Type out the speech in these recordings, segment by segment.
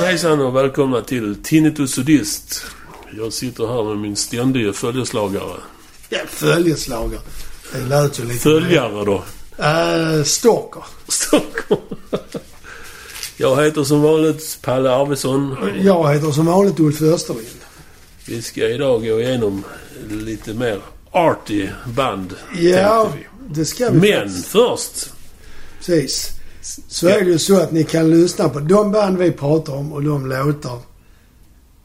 Hejsan och välkomna till Tinnitus Sudist. Jag sitter här med min ständige följeslagare. Ja, följeslagare. Det lät ju lite... Följare då. Eh, stalker. Stockholm. Jag heter som vanligt Palle Arvidsson. Jag heter som vanligt Ulf Österlind. Vi ska idag gå igenom lite mer arty band. Ja, tänkte det ska vi. vi Men först. Precis. Så är det ju så att ni kan lyssna på de band vi pratar om och de låtar.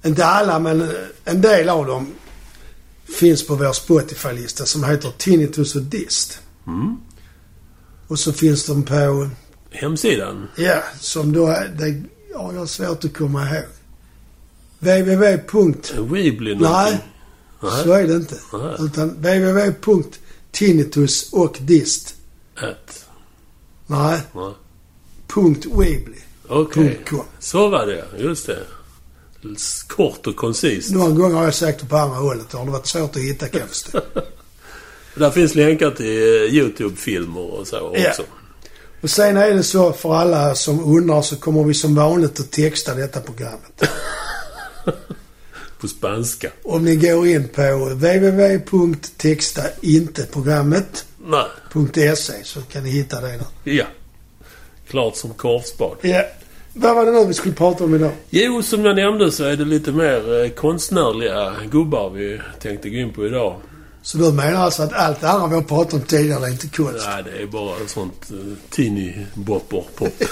Inte alla, men eh, en del av dem finns på vår Spotify-lista som heter Tinnitus och Dist. Mm. Och så finns de på, Hemsidan. ja, som då är, det har jag svårt att komma ihåg. www. Weebly Nej, Nej. så är det inte. Nej. Utan www.tinnitus och dist. Ett. Nej, Nej. punkt Weebly. Okej. Punkt com. Så var det Just det. Kort och koncist. Några gånger har jag sagt det på andra hållet. Det har varit svårt att hitta kan jag förstå. Där finns länkar till eh, YouTube-filmer och så Ja. också. Och sen är det så för alla som undrar så kommer vi som vanligt att texta detta programmet. På spanska. Om ni går in på www.textainteprogrammet.se Nej. så kan ni hitta det där. Ja. Klart som korvspad. Ja. Vad var det nu vi skulle prata om idag? Jo, som jag nämnde så är det lite mer eh, konstnärliga gubbar vi tänkte gå in på idag. Så du menar alltså att allt det andra vi har pratat om tidigare är inte konst? Nej, det är bara sånt eh, teeny-bopper-pop.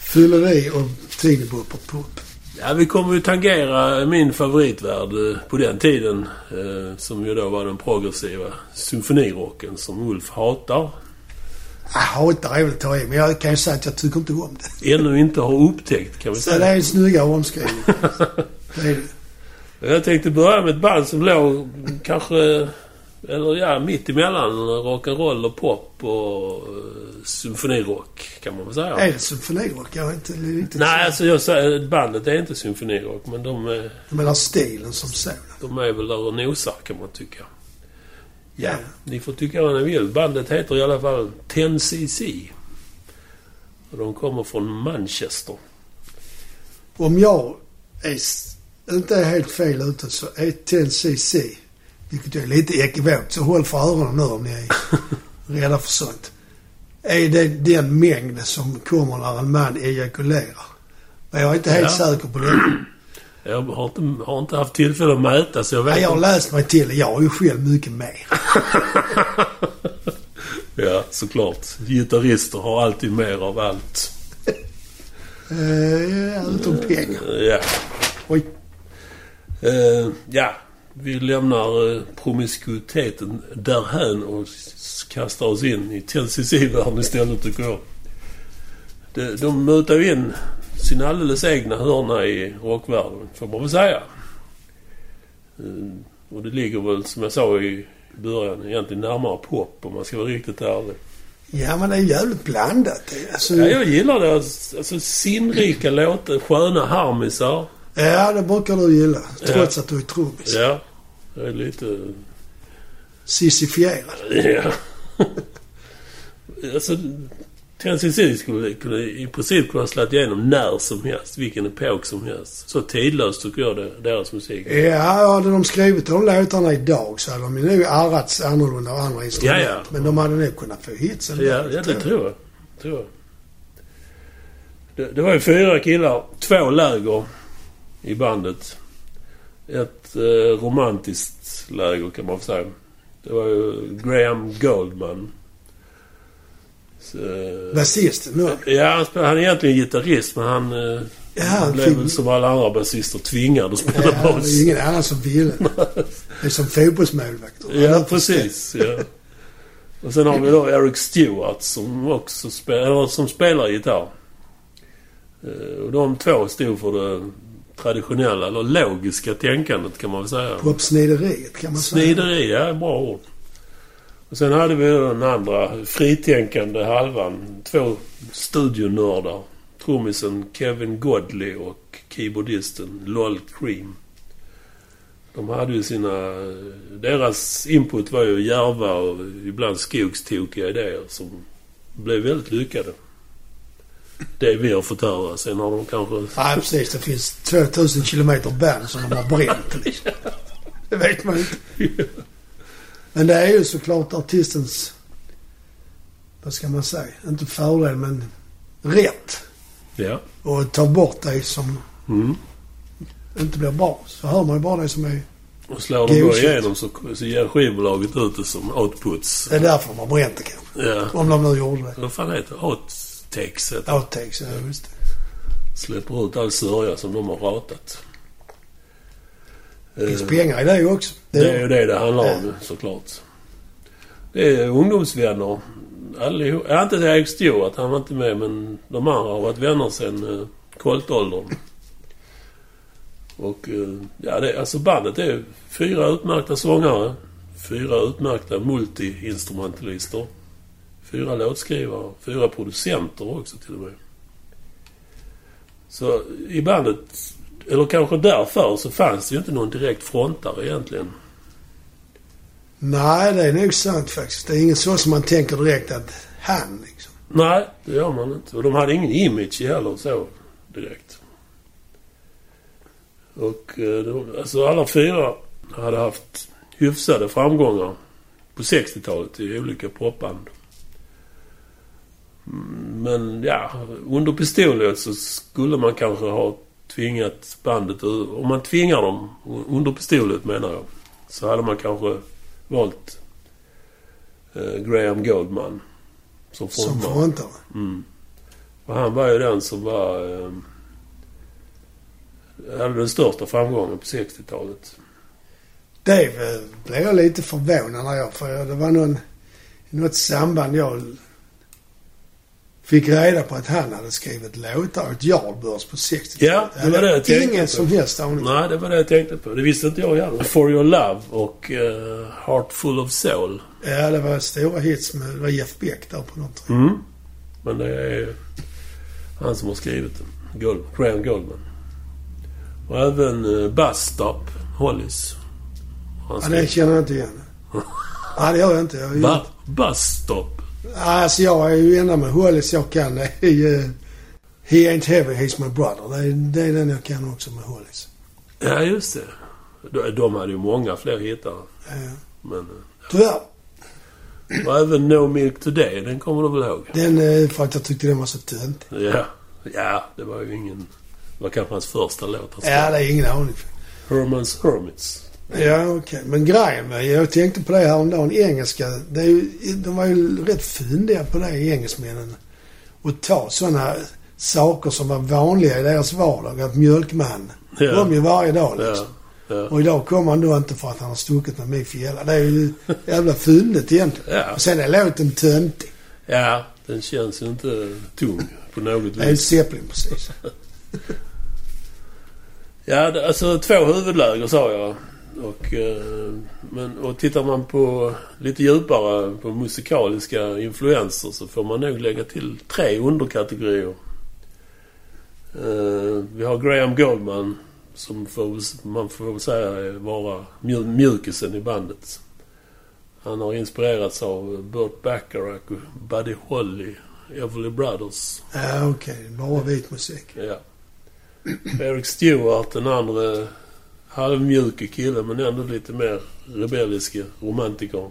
Fylleri och tidibopper pop. ja, vi kommer ju tangera min favoritvärld eh, på den tiden. Eh, som ju då var den progressiva symfonirocken som Ulf hatar. Jag hatar är väl att ta i, men jag kan ju säga att jag tycker inte om det. Ännu inte har upptäckt, kan vi Så det säga. är en snyggare omskrivning. det är det. Jag tänkte börja med ett band som låg kanske... Eller ja, mitt emellan rock'n'roll och pop och eh, symfonirock, kan man väl säga. Är det symfonirock? Jag har inte riktigt... Nej, alltså jag säger, bandet är inte symfonirock, men de, är- Jag menar stilen som sådan. de är väl där och nosar kan man tycka. Ja. Ni får tycka vad ni vill. Bandet heter i alla fall 10cc. Och de kommer från Manchester. Om jag är, s- inte är helt fel ute så är 10cc, vilket är lite ekivokt, så håll för öronen nu om ni är rädda för sånt. Är det den mängd som kommer när en man ejakulerar? Men jag är inte helt Ja. säker på det. Jag har inte, har inte haft tillfälle att mäta, så jag vet Nej, jag har inte. läst mig till det. Jag har ju själv mycket mer. Ja, såklart. Gitarrister har alltid mer av allt. Uh, utom pengar. Ja. Oj. Eh, ja. Vi lämnar uh, promiskuiteten därhän och s- kastar oss in i 10cc-världen istället, tycker jag. De, de mutar ju in sin alldeles egna hörna i rockvärlden, får man väl säga. Eh, och det ligger väl, som jag sa i början, egentligen närmare pop om man ska vara riktigt ärlig. Ja, men det är jävligt blandat. Alltså, Ja, ja, jag gillar det. Alltså sinnrika låtar, sköna harmisar. det brukar du gilla. Trots att du är trummis. Ja, jag är lite... Sissifierad. Ja. alltså, Tennessee skulle kunna, i princip kunna slå igenom när som helst, vilken epok som helst. Så tidlöst tycker jag det, deras musik. är. Ja, hade de skrivit de låtarna idag så hade de ju nog arrats annorlunda av andra instrument. Ja, ja. Men de hade nog kunnat få hits ändå. Ja, ja det tror jag. Tror jag. Det, det var ju fyra killar, två läger i bandet. Ett eh, romantiskt läger kan man säga. Det var ju Graham Goldman. Så, eh, Basisten nu. Ja, han, spelade, han är egentligen gitarrist, men han eh, Ja, han blev fick- väl som alla andra basister tvingad att Ja, spela Eh, det bas. är ju ingen annan som ville. Det är som fotbollsmålvakter. Ja, precis. Ja. Och sen har vi då Eric Stewart som också spelar, som spelar gitarr. Eh, Och de två stod för det traditionella, eller logiska tänkandet kan man väl säga. Popsnideriet kan man säga. Snideri, ja, bra ord. Och sen hade vi då den andra fritänkande halvan. Två studionördar. Trummisen Kevin Godley och keyboardisten Lol Cream. De hade ju sina... Deras input var ju djärva och ibland skogstokiga idéer som blev väldigt lyckade. det vi har fått höra. Sen har de kanske... Nej, precis. Det finns 2000 kilometer band som de har bränt. Liksom. Det vet man inte. Men det är ju såklart artistens, vad ska man säga, inte fördel men rätt. Ja. Och ta bort det som Mm. inte blir bra. Så hör man ju bara det som är... Och slår de då Godkänt. igenom så, så ger skivbolaget ut det som outputs. Det är därför de har bränt det kanske. Ja. Om de nu gjorde det. Vad fan heter det? Outtakes heter Outtakes, ja just det. det. Släpper ut all sörja som de har ratat. Det finns Eh, pengar i det ju också. Det Det är är, ju det det handlar om såklart. Det är ungdomsvänner. Allihop. Ja, inte Erik Stewart, han var inte med, men de andra har varit vänner sedan eh, koltåldern. Och eh, ja, det, alltså bandet är fyra utmärkta sångare, fyra utmärkta multiinstrumentalister, fyra låtskrivare, fyra producenter också till och med. Så i bandet, eller kanske därför, så fanns det ju inte någon direkt frontare egentligen. nej, det är nog sant faktiskt. Det är ingen så som man tänker direkt att han liksom. Nej, det gör man inte. Och de hade ingen image heller så direkt. Och eh, de, alltså alla fyra hade haft hyfsade framgångar på 60-talet i olika popband. Mm, Men ja, under pistolet så skulle man kanske ha tvingat bandet ur- Om man tvingar dem, under pistolet menar jag, så hade man kanske valt eh, Graham Goldman som Som frontman. frontar. Mm. Och han var ju den som var... Eh, hade den största framgången på 60-talet. Det eh, blev jag lite förvånad när jag, för det var någon, i något samband jag fick reda på att han hade skrivit låtar åt Yardbirds på 60-talet. Ja, det var det jag hade tänkte ingen på. som helst aning. Nej, det var det jag tänkte på. Det visste inte jag heller. For Your Love och eh, Heart Full of Soul. Ja, det var stora hits med, det var Jeff Beck där på något. Mm. Men det är ju han som har skrivit den. Gold, Graham Goldman. Och även eh, Bus Stop, Hollies. Han Ja, det skrev... känner jag inte igen. Nej, det gör jag inte. Jag är ju, Ba, Bus Stop. alltså, jag är ju enda med Hollis jag kan. Det är ju, He ain't heavy, he's my brother. Det är, det är den jag kan också med Hollis. Ja, just det. De, de hade ju många fler hittar. Ja. Men... Eh, Tyvärr. Och även No Milk Today, den kommer du väl ihåg? Den, eh, för att jag tyckte den var så tönt. Ja. Ja, det var ju ingen... Det var kanske hans första låt. han skrev. Ja, det är ingen aning. Herman's Hermits. Ja, okej. Men grejen med, jag tänkte på det häromdagen, engelska. Det är ju, de var ju rätt fyndiga på det, engelsmännen. Att ta sådana saker som var vanliga i deras vardag. Att mjölkman Ja. kom ju varje dag liksom. Ja. Ja. Och idag kommer han då inte för att han har stuckit med Mick Fjälla. Det är ju jävla fyndigt egentligen. Ja. Och sen är låten töntig. ja, den känns ju inte tung på något Det är ju vis. Zeppelin precis. Ja, det- alltså två huvudläger sa jag. Och, eh, men, och tittar man på lite djupare på musikaliska influenser så får man nog lägga till tre underkategorier. Eh, vi har Graham Goldman som får, man får väl säga är- vara mju- mjukisen i bandet. Han har inspirerats av Burt Bacharach, Buddy Holly, Everly Brothers Ja, okej. Bara vit musik. Ja. Eric Stewart, den andra halvmjuke killen men ändå lite mer rebelliske romantiker.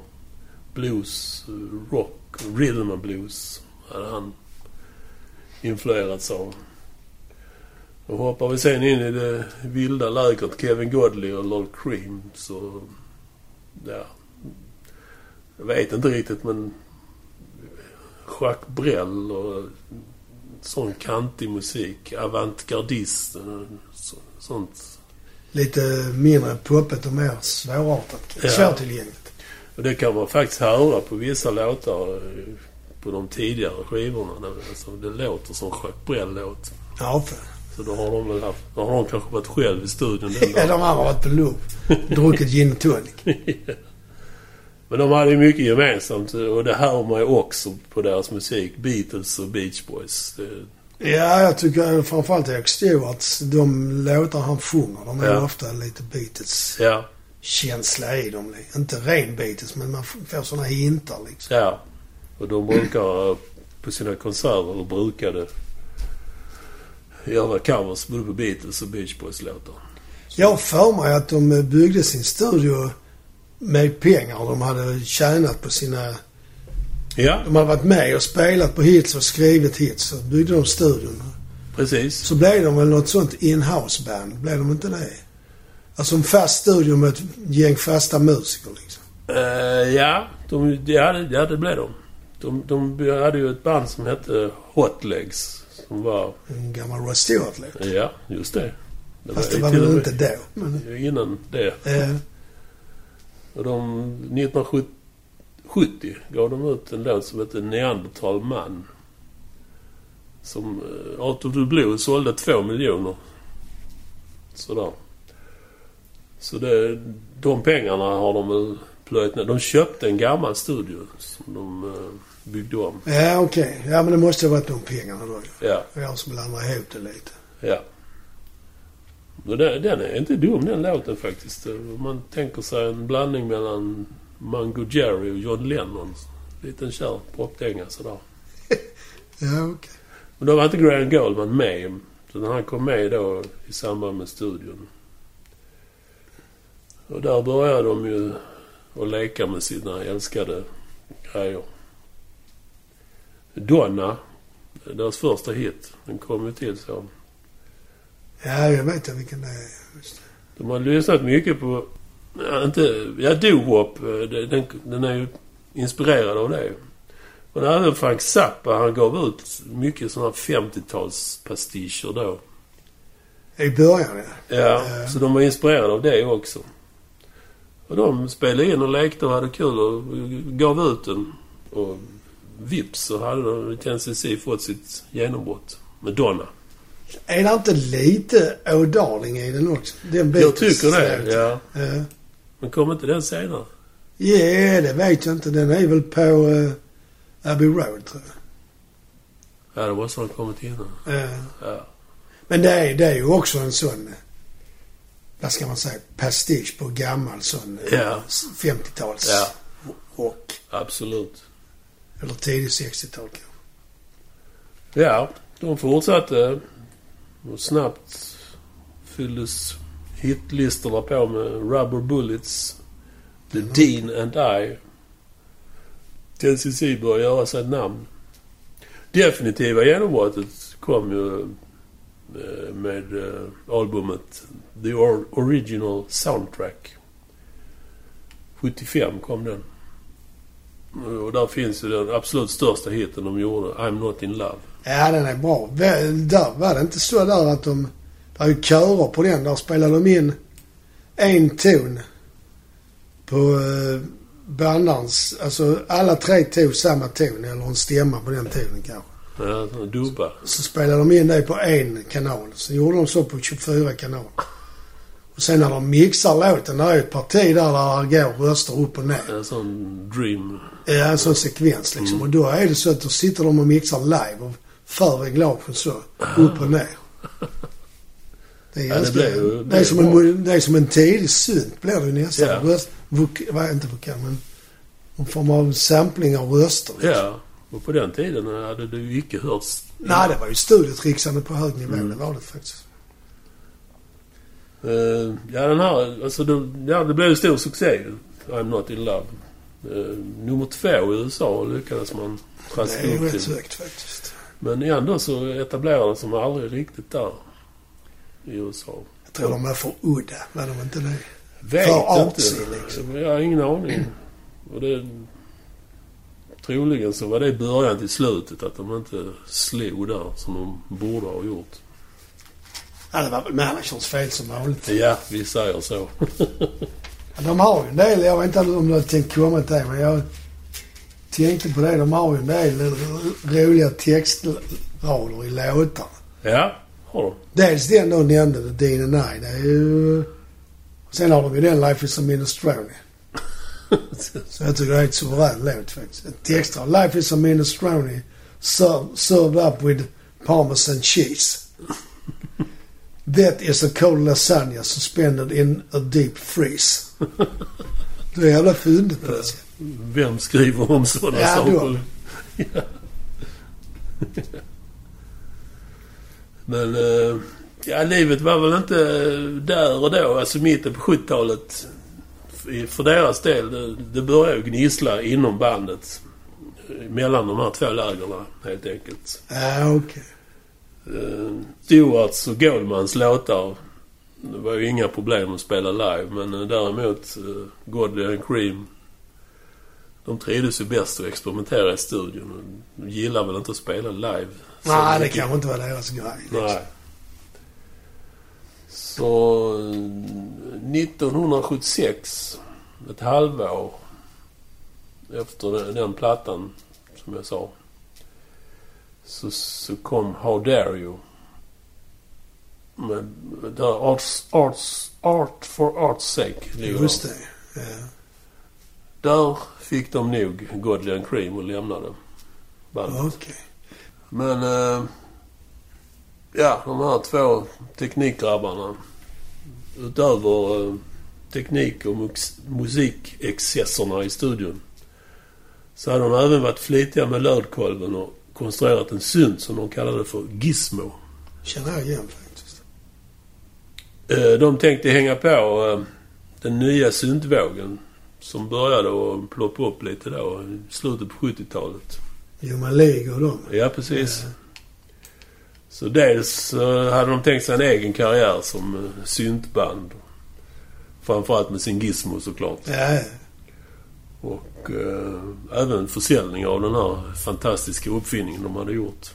Blues, eh, rock, rhythm and blues hade han influerats av. Och hoppar vi sen in i det vilda lägret Kevin Godley och Lol Cream så... Ja. Jag vet inte riktigt men... Jacques Brel och sån kantig musik. Avantgardist. Så, sånt. Lite mindre poppet och mer svårartat. Ja. Svårtillgängligt. Och det kan man faktiskt höra på vissa låtar eh, på de tidigare skivorna. Där, alltså, det låter som Jacques Brel-låt. Ja, för. Så då har de väl haft, då har de kanske varit själv i studion den Ja, de dagen. andra har varit på loop. Druckit gin och tonic. Men de hade ju mycket gemensamt eh, och det hör man ju också på deras musik. Beatles och Beach Boys. Det, Ja, jag tycker framförallt Eric Stewarts, de låtar han sjunger, de är Ja. ofta lite Beatles ja, känsla i dem. Inte ren Beatles, men man får såna hintar liksom. ja. Och de brukar eh, på sina konserter, eller brukade, göra covers både på Beatles och Beach Boys-låtar. Jag har för mig att de byggde sin studio med pengar de hade tjänat på sina... Ja, De hade varit med och spelat på hits och skrivit hits. Så byggde de studion. precis. Så blev de väl något sånt in-house-band. Blev de inte det? Alltså en fast studio med ett gäng fasta musiker liksom. Eh, ja, de, ja, det, ja, det blev de. de. De hade ju ett band som hette Hot Legs. Som var... En gammal Rod Stewart liksom. Ja, just det. det Fast ju det var till och väl med Mm. inte då. Men, Innan det. eh, Och de, 1970 gav de ut en låt som hette Neandertal man. Som eh, Out of the Blue sålde två miljoner. Sådär. Så det, de pengarna har de väl plöjt ner. De köpte en gammal studio som de eh, byggde om. ja, okej. Ja, men det måste ha varit de pengarna då. ju. Ja, Jag som blandar ihop det lite. ja. Men den, den är inte dum den låten faktiskt. Om man tänker sig en blandning mellan Mango Jerry och John Lennon. Liten kär popdänga sådär. Ja, okej. Men då var inte Graham Goldman med. Så när han kom med då i samband med studion. Och där började de ju att leka med sina älskade grejer. Donna, deras första hit, den kom ju till så. Ja, jag vet inte vilken det är. Just det. De har lyssnat mycket på... Ja, inte, ja doo-wop. eh, Den, den är ju inspirerad av det. Men även Frank Zappa, han gav ut mycket sådana 50-talspastischer då. I början, ja. Ja, så de var inspirerade av det också. Och de spelade in och lekte och hade kul och gav ut den. Och vips så hade Tennessee fått sitt genombrott med Donna. Är det inte lite Oh Darling i den också? Den Jag tycker det, Ja. ja. Ja. Men kom inte den senare? Ja, det vet jag inte. Den är väl på eh, Abbey Road, tror jag. Ja, det måste ha kommit innan. Ja. Ja. Men det är, det är ju också en sån... eh, Vad ska man säga? Pastisch på gammal sån eh, Ja. 50-tals Ja. rock. Absolut. Eller tidig 60-tal kanske. Ja, de fortsatte och snabbt fylldes hitlistorna på med Rubber Bullets, The Dean and I. Tennessee började göra sig ett namn. Definitiva genombrottet kom ju eh, med eh, albumet The Or- Original Soundtrack. 75 kom den. Och där finns ju den absolut största hiten de gjorde, I'm Not In Love. Ja, den är bra. Väl, Där var det inte så där att de... Det var ju körer på den. Där spelade de in en ton på eh, bandarens... Alltså alla tre tog samma ton, eller en stämma på den tonen kanske. Ja, sån dubba. Så spelade de in det på en kanal. Så gjorde de så på 24 kanaler. Och sen när de mixar låten, där är ett parti där, där går röster upp och ner. En sån dream. Ja, en sån sekvens Mm. liksom. Och då är det så att då sitter de och mixar live och för reglagen så, upp och ner. Det är, Ja, det ganska, blir det, ju- är blir som bra. en, det är som en tidig synt blir det ju nästan. Ja. Röst, vok, va, inte vokal, men en form av sampling av röster. liksom. Ja. Och på den tiden eh, hade det ju icke hörts. Nej, det var ju studiotrixande på hög nivå. Mm. Det var det faktiskt. Eh, ja, den här... Alltså, det, ja, det blev en stor succé. I'm not in love. Eh, nummer två i USA lyckades man Det traska är ju upp rätt till. högt faktiskt. Men ändå så etablerades de aldrig riktigt där. I USA. Jag tror de var för udda. Var de inte det? Vet För artsy, inte. liksom. Jag har ingen aning. Och det, troligen så var det början till slutet att de inte slog där som de borde ha gjort. Ja, det var väl managerns fel som vanligt. Ja, vi säger så. Ja, De har ju en del, jag vet inte om du har tänkt komma till det, men jag tänkte på det. De har ju en del r- roliga textrader i låtar. Ja, har de. Dels den då nämnde, The Dean and I. Det är ju... Sen har de ju den Life is a Minestrone. Så jag tycker det är ett suverän låt faktiskt. En Textrad. Life is a Minestrone served, served up with parmesan cheese. That is a cold lasagna suspended in a deep freeze. Du är jävla fyndig på det. Vem skriver om sådana Ja, saker? då. Ja. Men eh, ja, livet var väl inte där och då. Alltså mitten på 70-talet i- för deras del. Det, det började ju gnissla inom bandet. eh, Mellan de här två lägren helt enkelt. Ja, okej. Eh, Stewarts och Goldmans låtar. Det var ju inga problem att spela live. Men eh, däremot eh, Godley and Cream. De trivdes ju bäst att experimentera i studion. och De gillar väl inte att spela live. så Nej, det mycket. kanske inte var deras grej. liksom. Nej. Så eh, 1976, ett halvår efter den- den plattan som jag sa, så, så kom How Dare You. Med, med där arts, arts, art for Art's Sake. ligger Just där. det. Ja. Där fick de nog Godly and Cream och lämnade bandet. Okej. Men... Eh, ja, de här två teknikgrabbarna. Utöver eh, teknik och mux- musikexcesserna i studion. Så hade de även varit flitiga med lödkolven och konstruerat en synt som de kallade för Gizmo. Känner jag igen faktiskt. Eh, de tänkte hänga på eh, den nya syntvågen. Som började att ploppa upp lite då i slutet på 70-talet. Human League och dem. Ja, precis. Så dels eh, hade de tänkt sig en egen karriär som eh, syntband. Framförallt med sin gizmo såklart. Ja, ja. Och eh, även försäljning av den här fantastiska uppfinningen de hade gjort.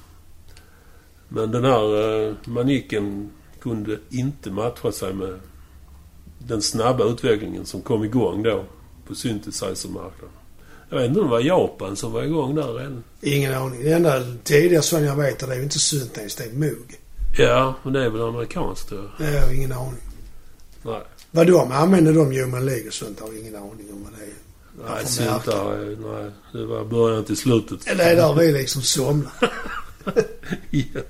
Men den här eh, maniken kunde inte matcha sig med den snabba utvecklingen som kom igång då på synthesizer-marknaden. Jag vet inte om det var Japan som var igång där redan. Ingen aning. Det enda tidiga som jag vet är det är ju inte synt ens. Det är mog. Ja, men det är väl amerikanskt tror jag. Det har jag ingen aning. Nej. Vad de använder de Human League och sånt har jag ingen aning om vad det är. Nej, Varför syntar, nej, det var början till slutet. Eller är det där vi liksom somnar? Ja.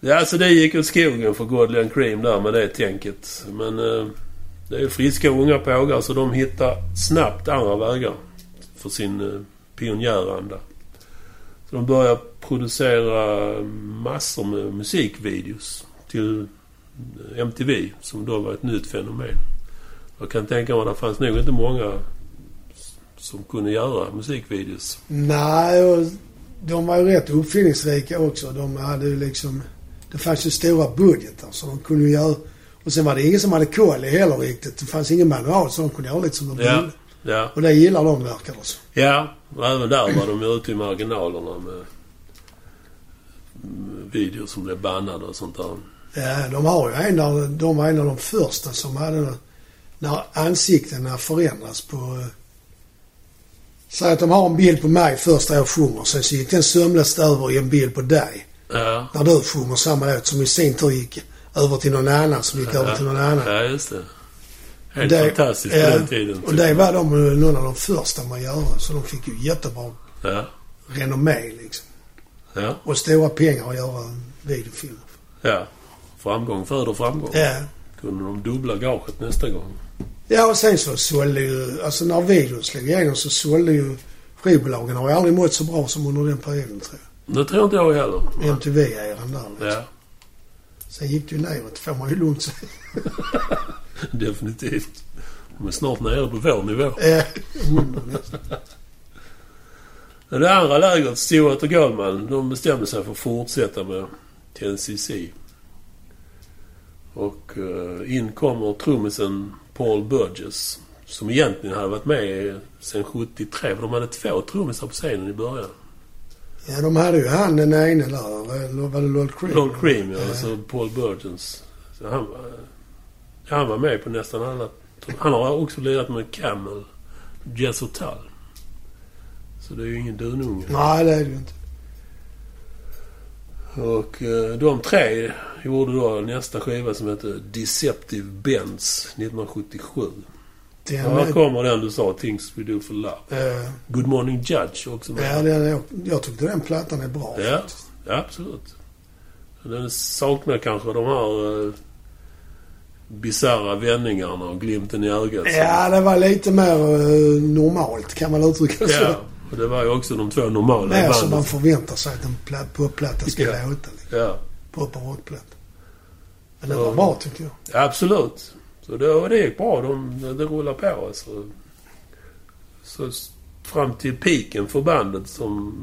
ja, så det gick åt skogen för Godlian Cream där med det tänket. Men eh, det är ju friska unga pågar så de hittar snabbt andra vägar för sin eh, pionjäranda. Så de börjar producera massor med musikvideos till eh, MTV, som då var ett nytt fenomen. Jag kan tänka mig att det fanns nog inte många s- som kunde göra musikvideos. Nej, och de var ju rätt uppfinningsrika också. De hade ju liksom... Det fanns ju stora budgetar så de kunde ju göra... Och sen var det ingen som hade koll heller riktigt. Det fanns ingen manual så de kunde göra lite som de Ja, ville. ja. Och det gillar de verkar det som. Ja, och även där var de ju ute i marginalerna med videor som blev bannade och sånt där. Ja, de har ju en där, de var en av de första som hade när ansiktena förändras på... eh, Säg att de har en bild på mig första jag sjunger. Sen så gick den sömlöst över i en bild på dig. Ja, När du sjunger samma låt som i sin tur gick över till någon annan som gick över till någon annan. ja just det. Helt Det- fantastiskt på ja, den tiden. typ. Och det var de, eh, någon av de första man göra. Så de fick ju jättebra Ja, renommé liksom. ja, Och stora pengar att göra videofilmer. ja. Framgång föder framgång. Ja. Kunde de dubbla gaget nästa gång. Ja, och sen så sålde ju... Alltså när videon slog igenom så sålde ju skivbolagen. har ju aldrig mått så bra som under den perioden tror Det tror inte jag heller. jag. MTV-eran där. liksom. Ja, Sen gick det ju neråt, får man ju lugnt säga. definitivt. De är snart nere på vår nivå. Ja, under nästan. Det andra lägret, Stewart och Goldman, de bestämde sig för att fortsätta med TNCC. Och eh, in kommer trummisen Paul Burgess, som egentligen hade varit med sedan 73, för de hade två trummisar på scenen i början. ja, de hade ju han den ene där. Eller var det Lord Cream? Eh, Lord Cream, ja, alltså Paul Burgess. Så han, eh, han var med på nästan alla... Han har också lirat med Camel, Jethro Tull. Så det är ju ingen dununge. Nej, det är det ju inte. Och eh, de tre gjorde då nästa skiva som heter Deceptive Bends 1977. Den Och här är, kommer den du sa, Things We Do For Love. eh, Good Morning Judge också ja, med. den är, jag tyckte den plattan är bra. Ja, ja absolut. Den saknar kanske de här eh, bisarra vändningarna och glimten i ögat. som- Ja, det var lite mer eh, normalt kan man uttrycka det ja. så. Och det var ju också de två normala i Mer som man bandet. förväntar sig att en pla- popplatta ska Ja. låta. Liksom. Ja, Pop och rockplatta. Men det var Ja. bra tycker jag. absolut. Så det, och det gick bra. De, det rullade på alltså. Så s- fram till piken för bandet som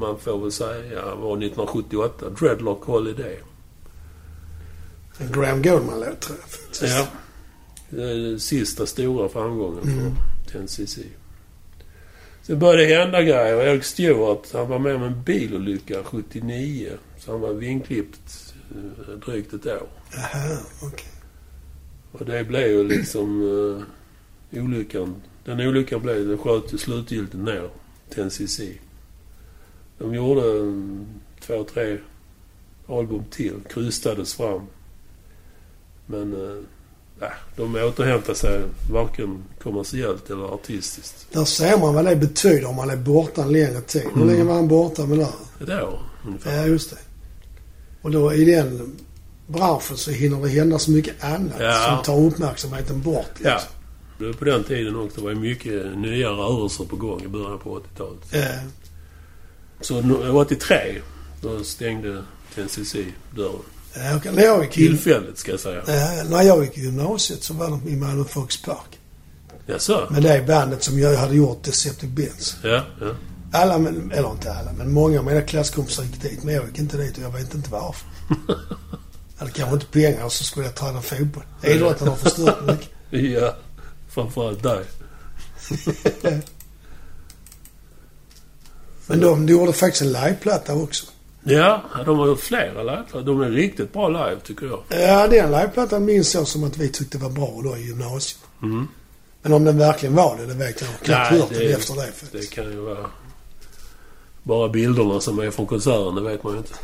man får väl säga var 1978. Dreadlock Holiday. En Graham Goldman-låt tror jag. faktiskt. Ja. Det är den sista stora framgången för NCC. Sen började det hända grejer. Eric Stewart, han var med om en bilolycka 79. Så han var vinklippt eh, drygt ett år. Jaha, okej. Och det blev ju liksom eh, olyckan. Den olyckan blev, den sköt ju slutgiltigt ner till NCC. De gjorde mm, två, tre album till. Krystades fram. Men eh, nej, de återhämtade sig varken kommersiellt eller artistiskt. Där ser man vad det betyder om man är borta en längre tid. Hur länge Mm. var han borta med det här? Ett år ungefär. Ja, just det. Och då i den branschen så hinner det hända så mycket annat Ja. som tar uppmärksamheten bort. liksom. Ja. Det var på den tiden också. Det var ju mycket nya rörelser på gång i början på 80-talet. Eh, Så no- 83, då stängde NCC dörren. ja, okej. när, jag gick i, Tillfälligt ska jag säga. eh, när jag gick i gymnasiet så var de i Malmö Folkspark. Jaså? Med det bandet som jag hade gjort, Deceptive Benz. Ja, ja. Alla, men, eller inte alla, men många av mina klasskompisar gick dit. Men jag gick inte dit och jag vet inte varför. Jag hade kanske inte pengar och så skulle jag träna fotboll. Idrotten har förstört mycket. ja. Framförallt dig. Men de, de gjorde faktiskt en liveplatta också. Ja, de har gjort flera låtar. De är riktigt bra live, tycker jag. Ja, den liveplattan minns jag som att vi tyckte var bra då i gymnasiet. Men om den verkligen var det, det vet jag. Jag har knappt hört den efter det faktiskt. Mm. det kan ju vara bara bilderna som är från konserten. Det vet man ju inte.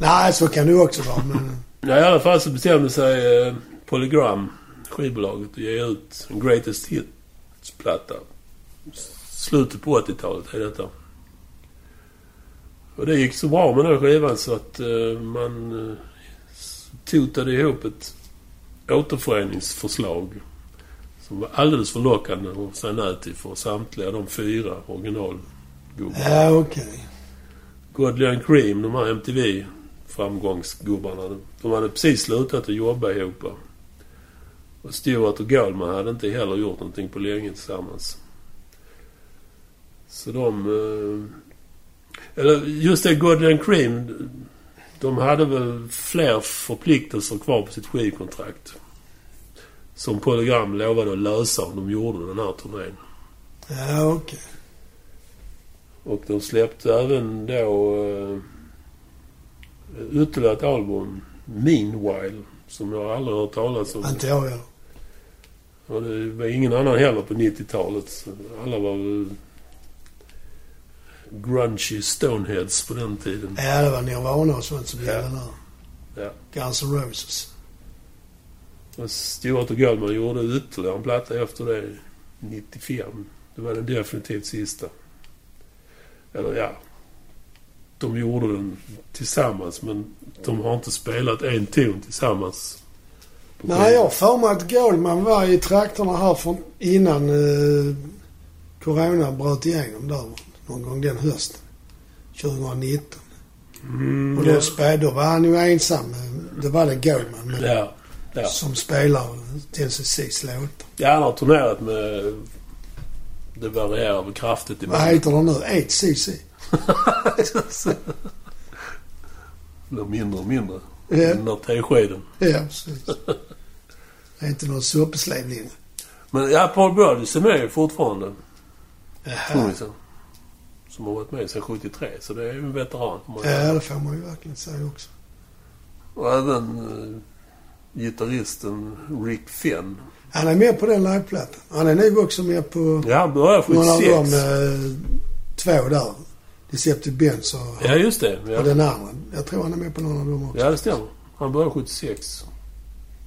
Nej, så kan det ju också vara. Men Ja, I alla fall så bestämde sig eh, Polygram, skivbolaget, att ge ut en Greatest Hits-platta. S- Slutet på 80-talet är detta. Och det gick så bra med den skivan så att eh, man eh, s- totade ihop ett återföreningsförslag som var alldeles för lockande att säga nej till för samtliga de fyra originalgubbarna. ja, okej. Godley and Cream, de här MTV-framgångsgubbarna, de hade precis slutat att jobba ihop. Och Stewart och Goldman hade inte heller gjort någonting på länge tillsammans. Så de... eh, Eller just det, Godley and Cream, de hade väl fler förpliktelser kvar på sitt skivkontrakt. Som Polygram lovade att lösa om de gjorde den här turnén. Ja, okej. Och de släppte även då eh, ytterligare ett album, Meanwhile, som jag aldrig hört talas om. Inte jag heller. Och det var ingen annan heller på 90-talet. Så Alla var väl grungy Stoneheads på den tiden. Ja, det var Nirvana och sånt som Ja. gällde där. Ja. Guns N' Roses. Och Stewart och Goldman gjorde ytterligare en platta efter det, 95. Det var den definitivt sista. Eller ja, de gjorde den tillsammans men de har inte spelat en ton tillsammans. på Nej, skivan. jag har för mig att Goldman var i trakterna här från innan eh, Corona bröt igenom där. Någon gång den hösten. 2019. Mm, Och då, spä, då var han ju ensam. Det var det Goldman. Men ja, ja. Mm. som spelar TNCCs låtar. ja, han har turnerat med... Det varierar väl kraftigt i Vad heter de nu? 8CC? Det blir mindre och mindre. Ja. Den där teskeden. Ja, precis. Det är inte någon soppeslev längre. Men ja, Paul Brodys är med fortfarande. Jaha. trummisen. Som har varit med sedan 73, så det är ju en veteran. om man säger. Ja, det får man ju verkligen säga också. Och även eh, gitarristen Rick Fenn. Han är med på den liveplattan. Han är nog också med på Ja, han började någon av 76. de eh, två där. Deceptive Benz och, Ja, just det. och Ja. den andra. Jag tror han är med på någon av dem också. ja, det stämmer. Han började 76.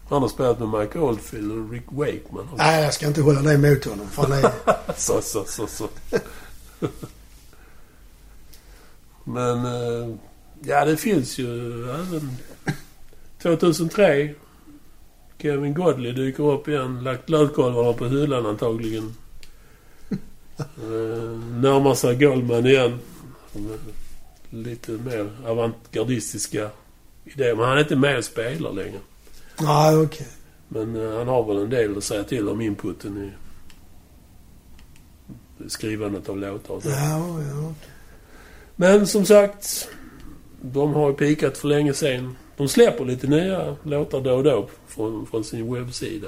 Han har spelat med Mike Oldfield och Rick Wakeman. också. Nej, jag ska inte hålla det emot honom. För han är, Så, så, så, så. Men, eh, ja det finns ju även 2003. Kevin Godley dyker upp igen. Lagt lötkolvarna på hyllan antagligen. Eh, närmar sig Goldman igen. Lite mer avantgardistiska idéer. Men han är inte med och spelar längre. Nej, okej. Men eh, han har väl en del att säga till om inputen i skrivandet av låtar och så. Ja, ja. Men som sagt, de har ju pikat för länge sedan. De släpper lite nya låtar då och då från, från sin webbsida.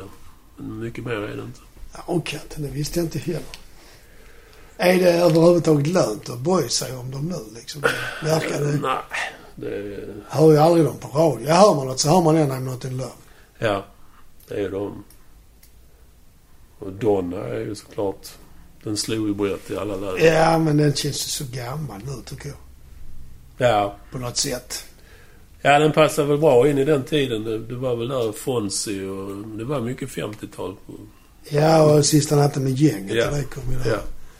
Men mycket mer är det inte. Ja, Och katten, det visste jag inte heller. Är det överhuvudtaget lönt att bry sig om dem nu liksom? Verkar det... Nej, det... Hör ju aldrig dem på radio. Ja, hör man något så hör man en I'm not in love. Ja, det är de. Och Donna är ju såklart... Den slog ju brett i alla läger. Ja, men den känns ju så gammal nu tycker jag. Ja. På något sätt. ja, den passar väl bra in i den tiden. Det, det var väl där Fonzie och... Det var mycket 50-tal. på- Ja, och sista natten med gänget. Ja. Det kom ju där. Ja,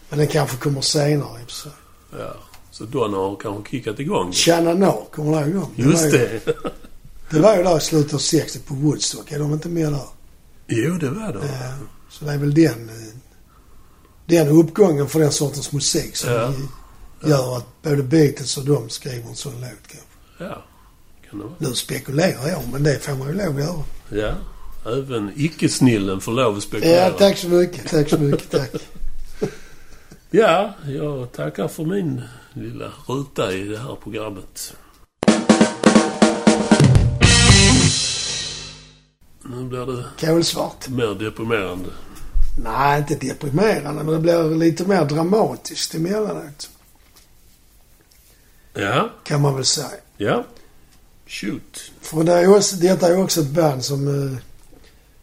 Men den kanske kommer senare i och för sig. ja. Så Donna har kanske kickat igång. Shanna Noor, kommer du ihåg dem? var Just ju- det! Det var ju där i slutet av 60 på Woodstock. Är de inte med där? Jo, det var det. Eh, Så det är väl den, eh, den uppgången för den sortens musik som Ja. i- gör att både Beatles och de skriver en sån låt kanske. Ja, kan det vara. Nu spekulerar jag, men det får man ju lov att göra. Ja, även icke-snillen får lov att spekulera. Ja, tack så mycket. Tack så mycket. Tack. Ja, jag tackar för min lilla ruta i det här programmet. Nu blir det Kolsvart. mer deprimerande. Nej, inte deprimerande, men det blir lite mer dramatiskt emellanåt. Ja, Kan man väl säga. ja. Shoot. För det är ju också, detta är ju också ett band som eh,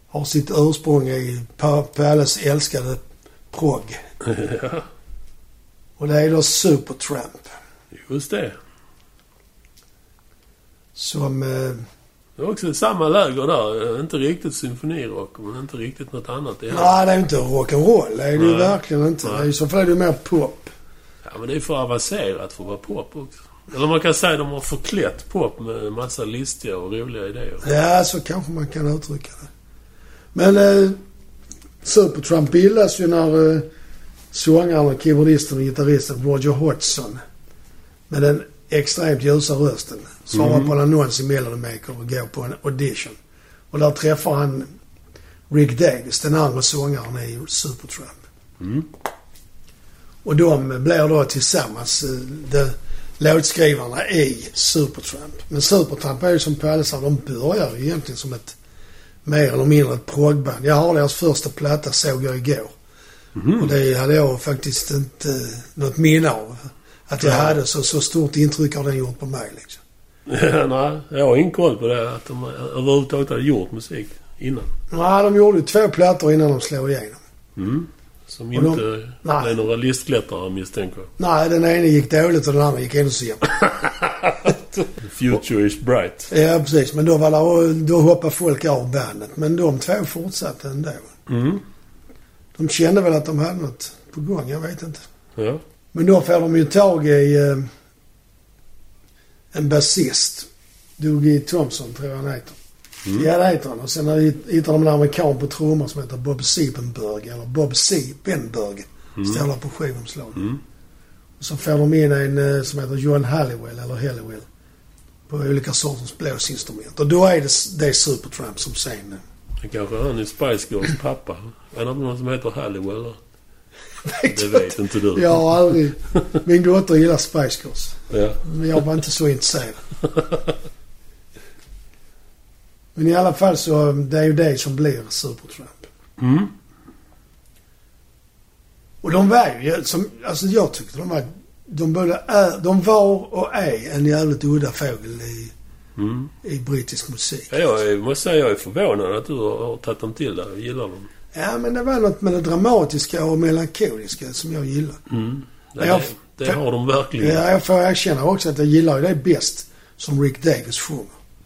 har sitt ursprung i Pa- Palles älskade prog. ja, Och det är då Supertramp. just det. Som... Eh, Det är också samma läger där. Eh, Inte riktigt symfonirock, men inte riktigt något annat heller. nej, det är ju inte rock'n'roll. Det är det ju Nej. verkligen inte. Nej. Det är ju så fall är det ju mer pop. Ja, men det är för avancerat för att vara pop också. Eller man kan säga att de har förklätt pop med massa listiga och roliga idéer. Ja, så kanske man kan uttrycka det. Men eh, Supertramp bildas ju när eh, sångaren, keyboardisten och gitarristen Roger Hodgson med den extremt ljusa rösten svarar på en annons i Melody Maker och går på en audition. Och där träffar han Rick Davis, den andra sångaren i Supertramp. Och de blir då tillsammans eh, de, låtskrivarna i Supertramp. Men Supertramp är ju som Palle sa, de börjar ju egentligen som ett mer eller mindre ett proggband. Jag har deras första platta såg jag igår. Och det hade jag faktiskt inte något minne av. Att jag hade så, så stort intryck har den gjort på mig liksom. Nej, jag har ingen koll på det. Att de överhuvudtaget hade gjort musik innan. Nej, de gjorde ju två plattor innan de slog igenom. Mm. Som Och de- inte nej. blev några listklättrare misstänker jag. Nej, den ena gick dåligt och den andra gick ännu sämre. The Future is bright. Ja, precis. Men då, var det, då hoppade folk av bandet. Men de två fortsatte ändå. Mm. De kände väl att de hade något på gång, jag vet inte. Ja. Men då får de ju tag i eh, en basist. Dougie Thompson, tror jag han heter. Mm. Ja, det heter han. Och sen hittar de en amerikan på trummor som heter Bob Siebenberg, eller Bob Siebenberg. Står där på skivomslaget. Mm. Och så får de in en eh, som heter John Halliwell, eller Halliwell. På olika sorters blåsinstrument. Och då är det, det är Supertramp som sen... eh, Det kanske är han i Spice Girls pappa. Är det inte någon som heter Halliwell? eller? Det jag vet inte du. Jag har eh, aldrig... Min dotter gillar Spice Girls. Ja. Men jag var inte så intresserad. Men i alla fall så, det är ju det som blir Supertramp. Mm. Och de var ju, som, alltså jag tyckte de var, de både är, de var och är en jävligt udda fågel i, Mm. i brittisk musik. Ja, jag är, måste säga jag är förvånad att du har, har tagit dem till dig och gillar dem. Ja, men det var något med det dramatiska och melankoliska som jag gillar. Mm. Det, Jag- det, det har de verkligen. Ja, jag får erkänna också att jag gillar ju det bäst som Rick Davis sjunger.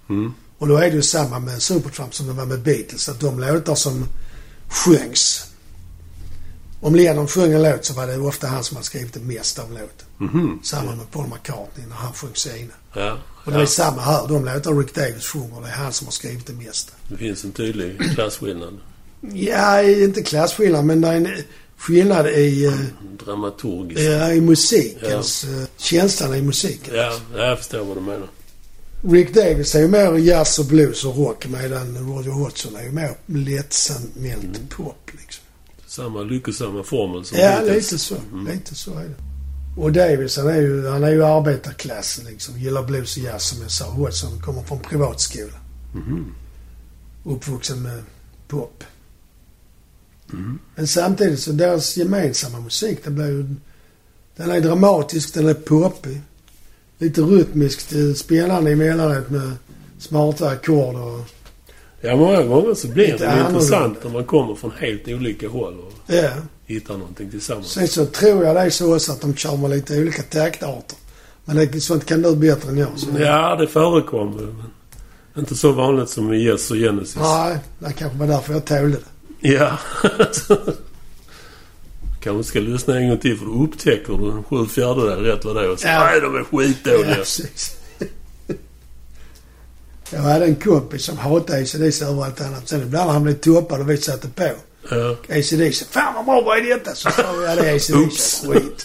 Mm. Och då är det ju samma med Supertramp som det var med Beatles. Att de låtar som sjöngs. Om Lennon sjöng en låt så var det ju ofta han som hade skrivit det mesta av låten. Mhm. Samma med Paul McCartney när han sjöng sina. Ja. Och det är ja. samma här. De låtar Rick Davis sjunger, det är han som har skrivit det mesta. Det finns en tydlig klasskillnad. Ja, inte klasskillnad, men det är en, skillnad i, eh, Dramaturgiskt. ja, i Ja. musikens... eh, känslan i musiken. Ja, jag förstår vad du menar. Rick Davis är ju mer jazz och blues och rock medan Roger Hodgson är ju mer lättsamält pop. Liksom. Samma lyckosamma formel som Ja, hittills. lite så. Mm. Lite så är det. Och Davis han är ju, han är ju arbetarklassen liksom. Gillar blues och jazz som jag sa. Hodgson kommer från privatskola. Mhm. Uppvuxen med pop. Mm. Men samtidigt så deras gemensamma musik den blir ju... Den är dramatisk, den är poppig. Lite rytmiskt eh, spännande emellanåt med smarta ackord och... Ja, många gånger så blir Lite det annorlunda. intressant när man kommer från helt olika håll och Ja. hittar någonting tillsammans. Sen så tror jag det är så också att de kör med lite olika taktarter. Men det, sånt kan du bättre än jag. Så. Ja, det förekommer. Men inte så vanligt som i Yes och Genesis. Nej, det kanske var därför jag tålde det. Ja. Så- Kanske ska lyssna en gång till för då upptäcker du en sju fjärdedelar rätt vad det är. Och så, Ja. Nej, de är Ja, skitdåliga. precis. Jag hade en kompis som hatade ACDC över allt annat. Sen ibland när han blev toppad och vi satte på Ja. ACDC. Fan vad bra, vad är detta? Så sa vi, ja det är Oops. ACDC. Skit.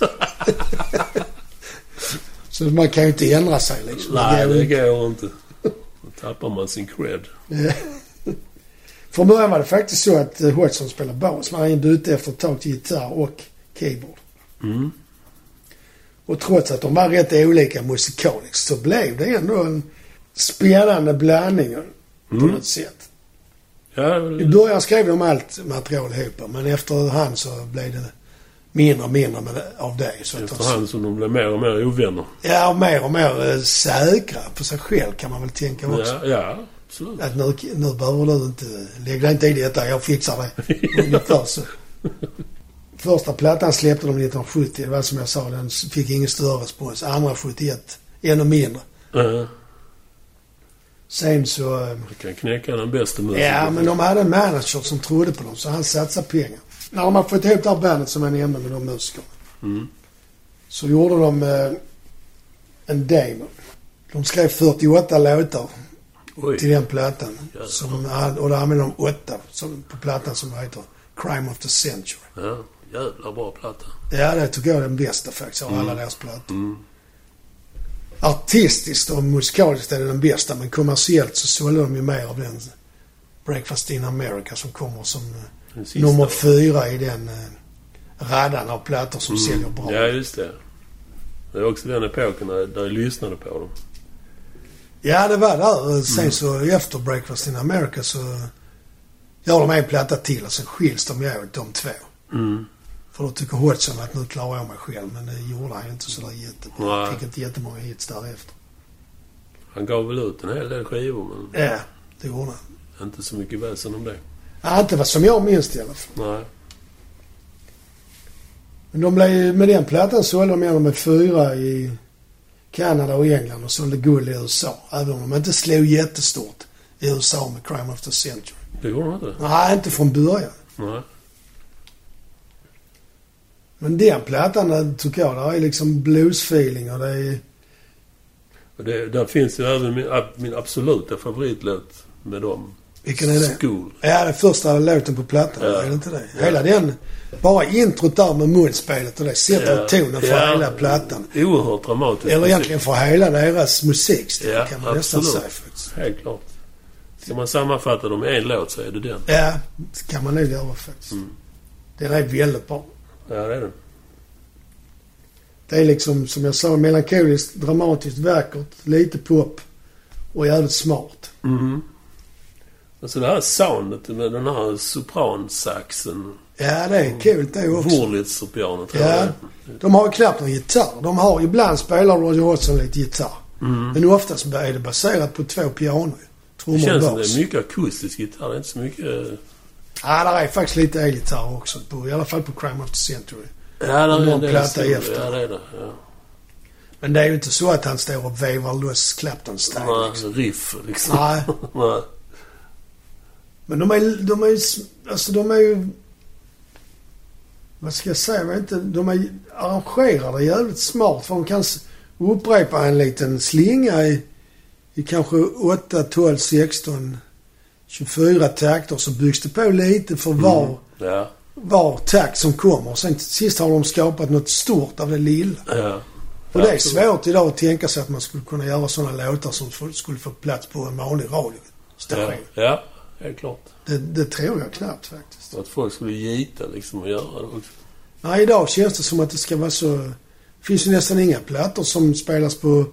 Så man kan ju inte ändra sig liksom. Nej, går det ju inte. går inte. Då tappar man sin cred. Ja. Från början var det faktiskt så att eh, Hodgson spelade bas. Men han bytte efter ett tag till gitarr och keyboard. Mm. Och trots att de var rätt olika musikaliskt så blev det ändå en spännande blandning på Mm. något sätt. Ja, I början skrev de allt material ihop men efterhand så blev det mindre och mindre med, av det. Så att de, efterhand som de blev mer och mer ovänner. ja, och mer och mer eh, säkra på sig själv kan man väl tänka också. Ja, ja absolut. Att nu, nu behöver du inte... Lägg dig inte i detta, jag fixar det. Ungefär så. Första plattan släppte de 1970. Det var som jag sa, den fick ingen större respons. Andra 71, ännu mindre. Ja. Sen så... eh, Man kan knäcka den bästa musikern. Ja, men de hade en manager som trodde på dem, så han satsade pengar. När de hade fått ihop det här bandet som jag nämnde med de musikerna, Mm. så gjorde de eh, en demo. De skrev 48 låtar till Oj. den plattan. Jävlar. Som, och då använde de åtta som, på plattan som heter Crime of the Century. Ja, jävla bra platta. Ja, det tycker jag är den bästa faktiskt av alla deras plattor. Mm. Artistiskt och musikaliskt är det den bästa, men kommersiellt så sålde de ju mer av den Breakfast in America som kommer som eh, Den sista. nummer va? fyra i den eh, radan av plattor som säljer bra. Mm. Ja, just det. Det är också den epoken där där jag lyssnade på dem. Ja, det var där. Eh, Sen Mm. så efter Breakfast in America så gör de en platta till och sen skiljs de ju åt de två. Mm. För då tycker Hodgson att nu klarar jag mig själv, men det gjorde han ju inte sådär jättebra. Nej. Fick inte jättemånga hits därefter. Han gav väl ut en hel del skivor, men Ja, det gjorde han. inte så mycket väsen om det. Ja, inte vad som jag minns det i alla fall. Nej. Men de blev, ju- med den plattan sålde de igenom med fyra i Kanada och England och sålde guld i USA. Även om de inte slog jättestort i USA med Crime of the Century. Det gjorde han inte. Nej, inte från början. Nej. Men den plattan den tycker jag, där är liksom blues-feeling och det är... Och det, där finns ju även min, ab- min absoluta favoritlåt med dem. Vilken är det? School. Ja, det är första låten på plattan. Ja. Är det inte det? Ja. Hela den... Bara introt där med munspelet och det sätter tonen för Ja. hela plattan. Oerhört dramatiskt. Eller egentligen för hela deras musikstil Ja, kan man nästan absolut. säga faktiskt. Helt klart. Ska man sammanfatta dem i en låt så är det den. Ja, det kan man nog göra faktiskt. Mm. Den är väldigt bra. Ja, det är den. Det är liksom, som jag sa, melankoliskt, dramatiskt, vackert, lite pop och jävligt smart. Mhm. Alltså det här soundet med den här sopransaxen. Ja, det Mm. är kul det också. Wurlitzer-piano tror Ja. jag Eh, De har ju knappt någon gitarr. De har, ibland spelar Roger Hodgson lite gitarr. Mm. Men oftast är det baserat på två pianon. Det Trummor och känns som det bas. är mycket akustisk gitarr. Det är inte så mycket... eh, Ja, där är faktiskt lite elgitarr också. På, I alla fall på Crime of the Century. Ja, det är Någon en del platta solo. efter. Ja, det är det. Ja. Men det är ju inte så att han står och vevar loss Clapton-style. Några riff liksom. Nej. Nej. Men de är, de är, s- alltså de är ju... Vad ska jag säga? Jag vet inte. De är arrangerade jävligt smart. För de kan s- upprepa en liten slinga i, i kanske 8, 12, Mm. 16, 24 takter. Så byggs det på lite för var Ja. var tack som kommer. Och sen till sist har de skapat något stort av det lilla. Ja. Och det är Absolut. svårt idag att tänka sig att man skulle kunna göra sådana låtar som f- skulle få plats på en vanlig radiostation. Ja, ja, helt klart. Det, det tror jag knappt faktiskt. Så att folk skulle gita liksom och göra det också. Nej, idag känns det som att det ska vara så... Det finns ju nästan inga plattor som spelas på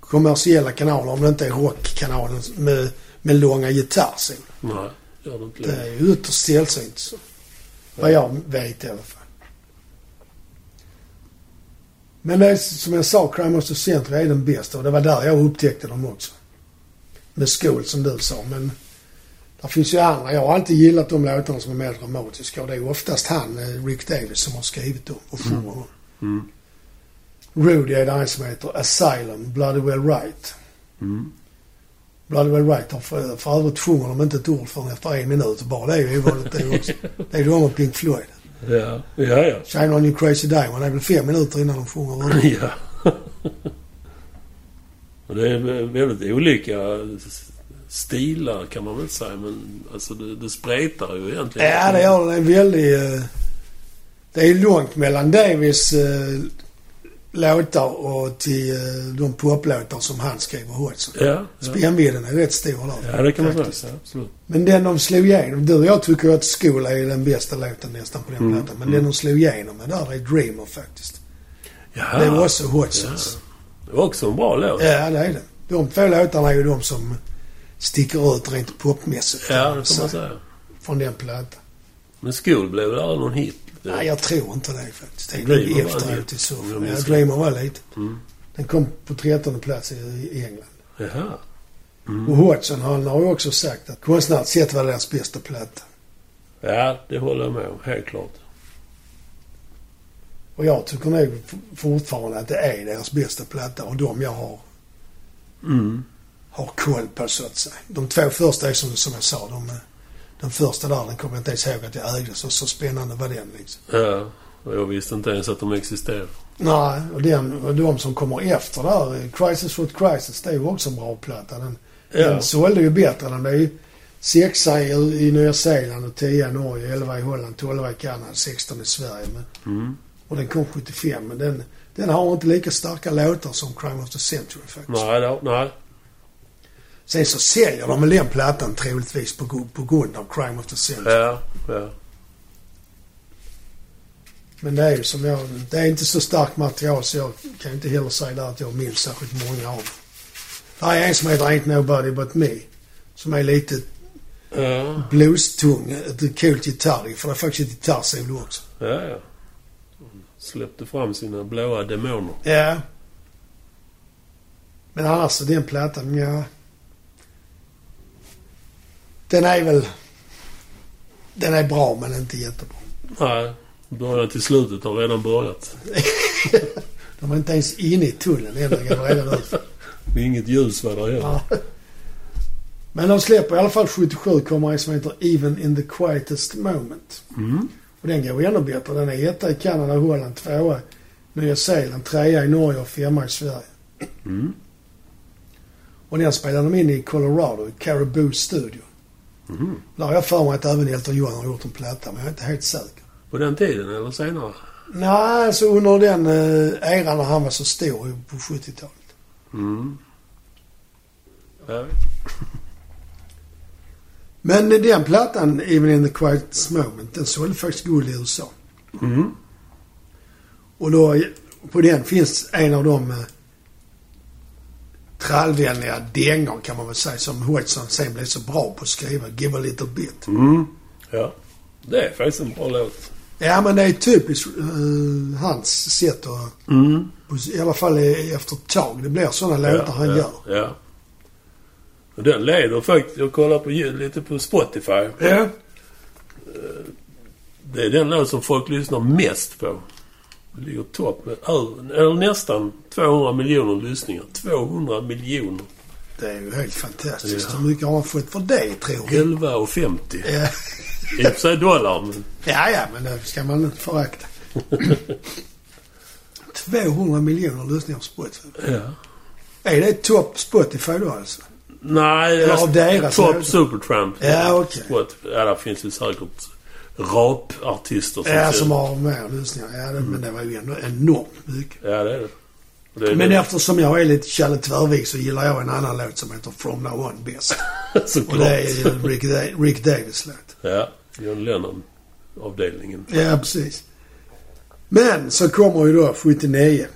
kommersiella kanaler om det inte är rockkanalen med, med långa gitarrsolon. Nej, gör det inte Det längre. är ju ytterst sällsynt. Så. Vad jag vet i alla fall. Men det är, som jag sa, Crime of the Century är den bästa och det var där jag upptäckte dem också. Med skol som du sa, men det finns ju andra. Jag har alltid gillat de låtarna som är mer dramatiska och det är oftast han, eh, Rick Davis, som har skrivit dem och sjunger dem. Mm. Rudy är det en som heter Asylum, Bloody Well Right. Mm. Bloody Well Right har för, för övrigt sjunger de inte ett ord förrän efter en minut och bara. Det är ju ovanligt det också. Det är de och Pink Floyd. Ja, ja. ja. Shine on your crazy diamond är väl fem minuter innan de sjunger den. ja. Och det är vä- väldigt olika s- stilar kan man väl säga. Men alltså det, det spretar ju egentligen. Ja, det gör det. Det är väldigt... eh, Det är långt mellan Davis eh, låtar och till eh, de poplåtar som han skrev och Hodgson. Ja, ja. Spännvidden är rätt stor där. ja det kan man faktiskt. säga. Ja, absolut. Men den de slog igenom. Du och jag tycker ju att Skola är den bästa låten nästan på den Mm, plattan. Men mm. den de slog igenom med där är Dreamer faktiskt. Ja, Det var också Hodgsons. det var också en bra låt. Ja, det är det. De två låtarna är ju de som sticker ut rent popmässigt. Ja, det kan man Så, säga. Från den plattan. Men Skol blev väl aldrig någon hit? Nej, jag tror inte det faktiskt. Det är Dreamer nog var efteråt det. i så Om jag fall. Ja, minns Dreamer var lite. Mm. Den kom på 13 plats i, i England. Jaha. Mm. Och Hodgson han har ju också sagt att konstnärligt sett var det deras bästa platta. Ja, det håller jag med om. Helt klart. Och jag tycker nog f- fortfarande att det är deras bästa platta och de jag har, Mm. har koll på så att säga. De två första är som, som jag sa, de, eh, den första där den kommer jag inte ens ihåg att jag ägde. Så, så spännande var den liksom. Ja, och jag visste inte ens att de existerade. Nej, och, den, och de som kommer efter där, eh, Crisis with Crisis, det är ju också en bra platta. Den, Ja, den sålde ju bättre. Den blev ju sexa i, i Nya Zeeland och 10 i Norge, 11 i Holland, 12 i Kanada, 16 i Sverige. Men, mm. och den kom 75, men den, den har inte lika starka låtar som Crime of the Century faktiskt. nej, då, nej. Sen så säljer de väl den plattan troligtvis på, gu- på grund av Crime of the Century. Ja, ja. Men det är ju som jag, det är inte så starkt material så jag kan inte heller säga där att jag minns särskilt många av dem. Det är en som heter Ain't Nobody But Me. Som är lite Ja, bluestung, ett coolt gitarr för det är faktiskt ett gitarrsolo också. ja. ja. Släppte fram sina blåa demoner. Ja. Men annars så den plattan, ja. Den är väl... Den är bra men inte jättebra. Nej, början till slutet har redan börjat. De är inte ens inne i tunneln än. De går redan ut. Det är inget ljus vad det heller. Ja. Men de släpper i alla fall 77 kommer en som heter Even in the Quietest Moment. Mm. Och den går ännu bättre. Den är etta i Kanada, Holland, tvåa i Nya Zeeland, trea i Norge och femma i Sverige. Mm. Och den spelar de in i Colorado, i Caribou Studio. Mm. Där har jag för mig att även Elton John har gjort en platta, men jag är inte helt säker. På den tiden eller senare? Nej, alltså under den eh, eran när han var så stor på 70-talet. Mm. Ja. Men den plattan, Even in the Quiet Moment, den sålde faktiskt guld i USA. Mm. Och då, på den finns en av de eh, trallvänliga dängor kan man väl säga som Hodgson sen blev så bra på att skriva. Give a little bit. Mm. Ja. Det är faktiskt en bra låt. Ja men det är typiskt eh, hans sätt att... Mm. I alla fall eh, efter ett tag. Det blir sådana låtar han ja, gör. Ja. Och den leder faktiskt... Jag kollar på, ljud- lite på Spotify. Ja. Det är den låt som folk lyssnar mest på. Ligger topp med över- eller nästan 200 miljoner lyssningar. 200 miljoner. Det är ju helt fantastiskt. Ja. Hur mycket har han fått för det tror du? 11,50. Ja. I och för sig dollar, men... ja, ja, men det ska man inte förakta. 200 miljoner lyssningar på Spotify. Ja. Är det topp Spotify då alltså? Nej, Eller av deras Top låtar. Supertramp. Ja, okej. Spot- Ja, där finns ju säkert rapartister. som Ja, ser som ut. har mer lyssningar. Ja, det, men det var ju ändå enormt mycket. Ja, det är det. det, är Men det. eftersom jag är lite Kalle Tvärvik så gillar jag en annan låt som heter From Now On bäst. Och Såklart. det är ju Rick, da- Rick Davis låt. Ja, John Lennon-avdelningen. Ja, precis. Men så kommer ju då 79.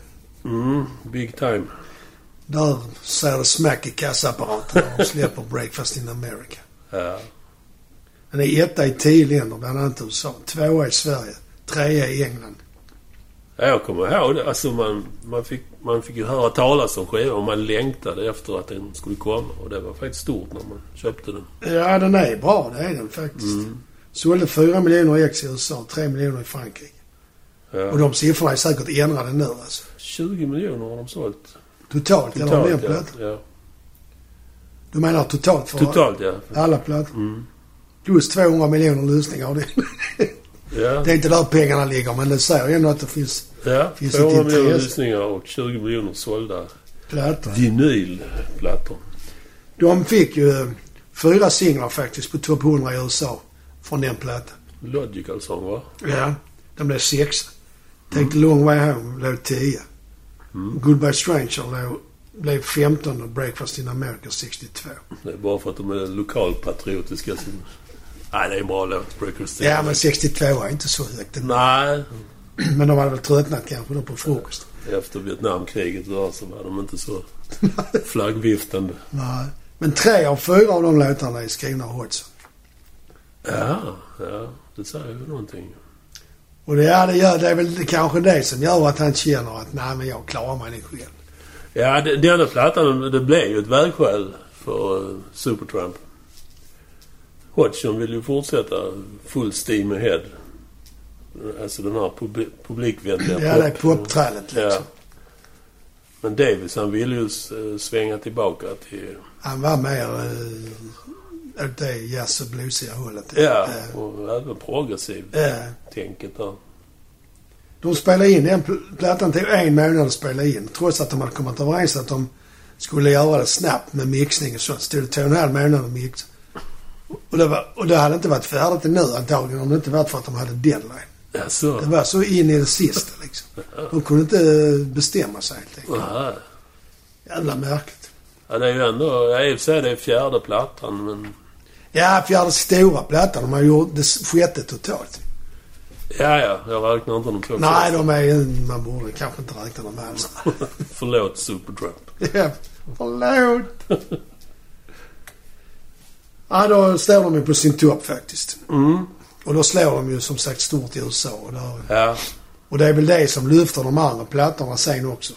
Mm, big time. Där ser det smack i kassaapparaten när de släpper Breakfast in America. Ja, Den är etta i tio länder, bland annat USA. Tvåa i Sverige. Trea i England. Ja, jag kommer ihåg det. Alltså man, man, fick, man fick ju höra talas om skivan och man längtade efter att den skulle komma. Och det var faktiskt stort när man köpte den. Ja, den är bra. Det är den faktiskt. Mm. Sålde 4 miljoner ex i USA, 3 miljoner i Frankrike. Och Ja. de siffrorna är säkert ändrade nu alltså. 20 miljoner har de sålt. Totalt, eller om det är Totalt, ja. plattor. ja. Du menar totalt för Totalt, ja. alla plattor? Mm. Plus 200 miljoner lyssningar av det. Ja, det är inte där pengarna ligger, men det säger ändå att det finns ja. finns 200 ett miljoner intresse. lyssningar och 20 miljoner sålda plattor. vinylplattor. De fick ju eh, fyra singlar faktiskt på topp 100 i USA från den plattan. Logical Song, va? Ja, den blev sexa. Take the long way home låg tio. Mm. Goodbye Stranger låg, blev 15 och Breakfast in America 62. Det är bara för att de är lokalpatriotiska. Som... Nej, det är en bra låt. Breakers Ja, men 62 är inte så högt. Nej, Men de hade väl tröttnat kanske då på frukost. efter Vietnamkriget då så var de inte så flaggviftande. Nej. Men tre av fyra av de låtarna är skrivna av Hodgson. Ja, ja, det säger ju någonting. Och det, ja, det, gör, det är väl kanske det som gör att han känner att nej, men jag klarar mig nog själv. Ja, det- denna plattan, det blev ju ett vägskäl för eh, Supertramp. Hodgson vill ju fortsätta full steam ahead. Alltså den här pub- publikvänliga Ja, det är poptrallet liksom. Ja. Men Davis, han ville ju eh, svänga tillbaka till... Han var mer eh, åt det jazz och bluesiga hållet. Ja, Eh, och även progressivt eh, tänket där. De spelade in den pl- plattan till en månad att spela in. Trots att de hade kommit överens att de skulle göra det snabbt med mixning och sånt. Stod det två och en halv månad att mixa. Och det, var, och det hade inte varit färdigt ännu antagligen om det inte varit för att de hade deadline. Jaså? Det var så in i det sista liksom. De kunde inte eh, bestämma sig helt enkelt. Aha. Jävla märkligt. Ja, det är ju ändå... Ja, i och för sig det är fjärde plattan, men... Ja, fjärde stora plattan. De har gjort det s- sjätte totalt. Ja, ja, jag räknar inte de två Nej, de är ju- Man borde kanske inte räkna dem alls. Förlåt Supertramp. Ja, förlåt. ja, då står de ju på sin topp faktiskt. Mm. Och då slår de ju som sagt stort i USA. Och, där, Ja, och det är väl det som lyfter de andra plattorna sen också.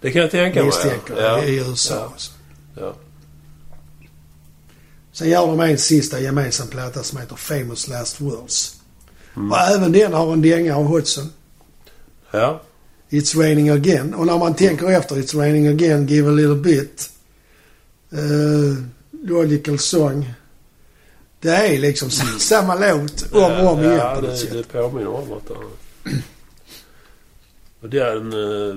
det kan jag tänka mig. Misstänker ja. jag, i USA. Ja. alltså. Ja. Sen gör de en sista gemensam platta som heter Famous Last Words. Mm. Och även den har en dänga av Hodgson. ja. It's raining again. Och när man tänker efter, It's raining again, Give a little bit. Uh, logical song. Det är liksom s- samma låt om och om igen ja, på något det, sätt. det påminner om att det Och den eh,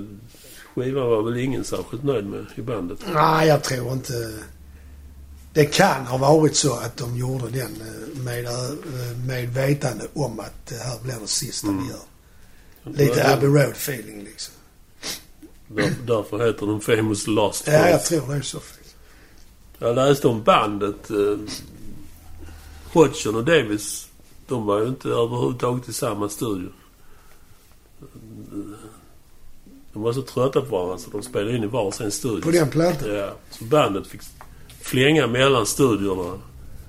skivan var väl ingen särskilt nöjd med i bandet. Nej, jag tror inte... Det kan ha varit så att de gjorde den eh, med, eh, med vetande om att det här blir det sista Mm. vi gör. Lite Abbey Road feeling liksom. Där, därför heter den Famous Last Ja, jag Words. tror det är så faktiskt. Jag läste om bandet. Eh, Hodgson och Davis, de var ju inte överhuvudtaget i samma studio. De var så trötta på varandra så de spelade in i varsin studio. På den plattan. Ja, så bandet fick flänga mellan studiorna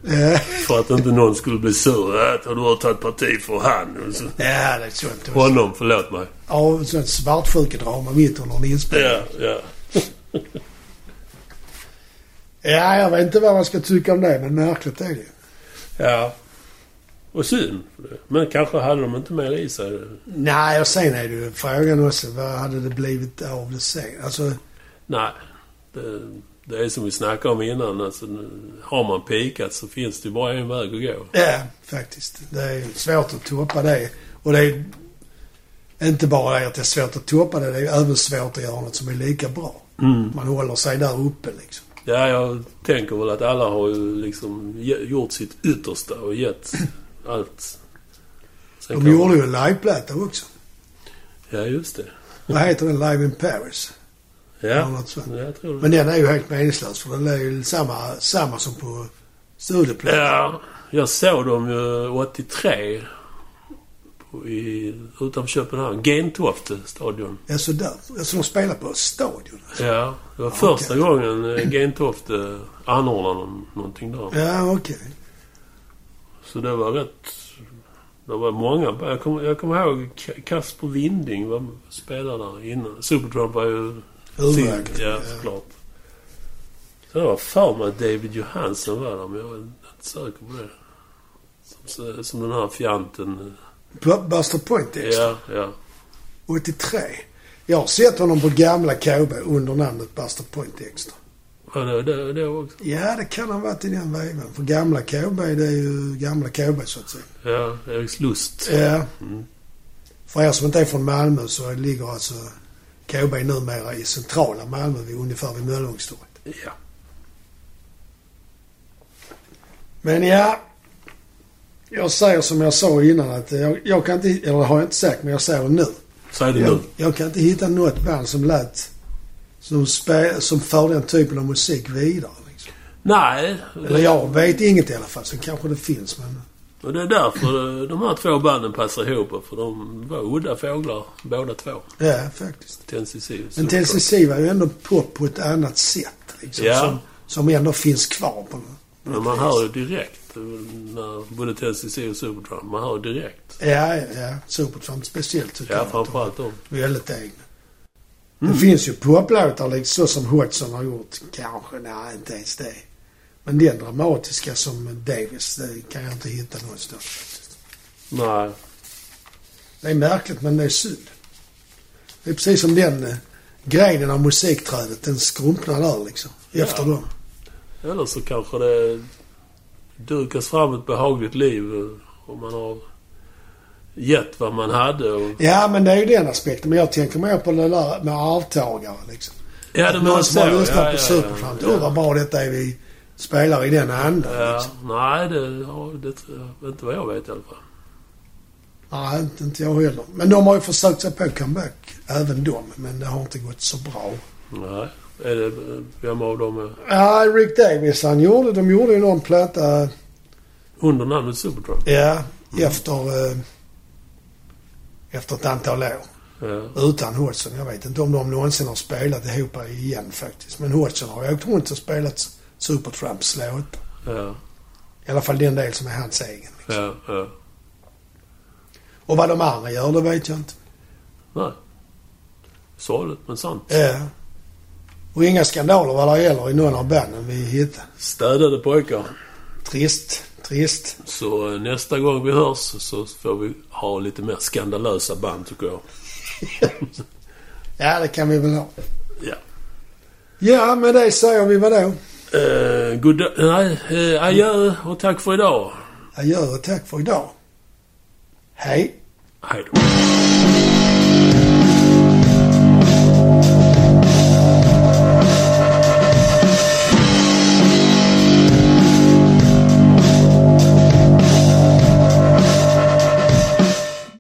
Ja, för att inte någon skulle bli sur. Äh, du har tagit parti för han. Och så, Ja, det är sånt. Det var- honom, förlåt mig. Ja, sånt svartsjukedrama mitt under en inspelning. Ja, ja. Ja, jag vet inte vad man ska tycka om det, men märkligt är det ju. ja. Och synd. för det. Men kanske hade de inte mer i sig. Nej, och sen är det ju frågan också, vad hade det blivit av det sen? Alltså, Nej. Det, det är som vi snackade om innan. Alltså, nu- har man pikat så finns det ju bara en väg att gå. ja, faktiskt. Det är svårt att toppa det. Och det är inte bara det att det är svårt att toppa det, det är ju även svårt att göra något som är lika bra. Mm. Man håller sig där uppe liksom. Ja, jag tänker väl att alla har ju liksom ge- gjort sitt yttersta och gett allt De gjorde ju en liveplatta också. Ja, just det. Vad heter den? Live in Paris? Eller Ja, något sånt. ja jag tror det. Men den är ju helt meningslös för den är ju samma, samma som på studioplattan. Ja, jag såg dem ju 83 på- i, utanför Köpenhamn. Gentofte stadion. Ja. så där. Alltså de spelar på stadion. Ja, det var första gången eh, Gentofte anordnade någon- någonting där. Ja, okej. Så det var rätt... Det var många. Jag kommer jag kommer ihåg Ka- Kasper Winding var spelare där innan. Supertramp var ju... Huvudakt. Ja, såklart. Så det var för mig att David Johansen var där, men jag är inte säker på det. Som, som den här fjanten. Buster Point Extra. Ja, ja. 83. Jag har sett honom på gamla KB under namnet Buster Point Extra. Ja, det, det, det också. Ja, det kan han varit i den vägen. För gamla KB, det är ju gamla KB så att säga. Ja, Eriks Lust. Ja. Mm. För er som inte är från Malmö så ligger alltså KB numera i centrala Malmö, vid, ungefär vid Möllevångstorget. Ja. Men ja, jag säger som jag sa innan att jag, jag kan inte, eller har jag inte sagt, men jag säger nu. Säg det Jag, nu. jag kan inte hitta något band som lät, som, spe, som för den typen av musik vidare. Liksom. Nej, Eller jag vet inget i alla fall, sen kanske det finns men... och det är därför de här två banden passar ihop. För de var udda fåglar båda två. Ja, faktiskt. Tennessee. Men TCC var ju ändå pop på ett annat sätt. Liksom, Ja. som, som ändå finns kvar på något. Men man hör ju direkt eh, när både Tennessee och Supertramp. Man hör direkt. Ja, ja, ja. Supertramp speciellt tycker Ja, Mm. jag. framförallt de. Väldigt egna. Det finns ju poplåtar liksom, så som Hodgson har gjort. Kanske, nej inte ens det. Men den dramatiska som Davis, det kan jag inte hitta någonstans. Nej. Det är märkligt men det är synd. Det är precis som den eh, grenen av musikträdet, den skrumpnar där liksom. Ja. Efter dem. Eller så kanske det dukas fram ett behagligt liv eh, om man har gett vad man hade. Och... Ja, men det är ju den aspekten. Men jag tänker mer på det där med arvtagare liksom. Ja, Att någon som har lyssnat på Supertramp. Åh, vad ja. bra detta är. Vi spelar i den andan ja. liksom. Nej, det, ja, det tror jag- inte vad jag vet i alla fall. Nej, inte, inte jag heller. Men de har ju försökt sig på comeback, även de. Men det har inte gått så bra. Nej. Är det, eh, vem av dem är Ja, Rick Davis han gjorde, de gjorde ju någon platta, eh, under namnet Supertramp? ja, efter, eh, efter ett antal år. Ja. Utan Hodgson. Jag vet inte om de någonsin har spelat ihop igen faktiskt. Men Hodgson har ju åkt runt och spelat Supertramps låtar. Ja. I alla fall den del som är hans egen. Ja. ja. Och vad de andra gör, det vet jag inte. Nej. Sorgligt, men sant. Ja. Och inga skandaler vad det gäller i någon av banden vi hittar. Städade pojkar. Trist, trist. Så eh, nästa gång vi hörs så får vi ha lite mer skandalösa band tycker jag. Ja, det kan vi väl ha. Ja. Ja, men det säger vi vadå? Eh, god Nej, eh, adjö och tack för idag. Adjö och tack för idag. Hej. Hej då.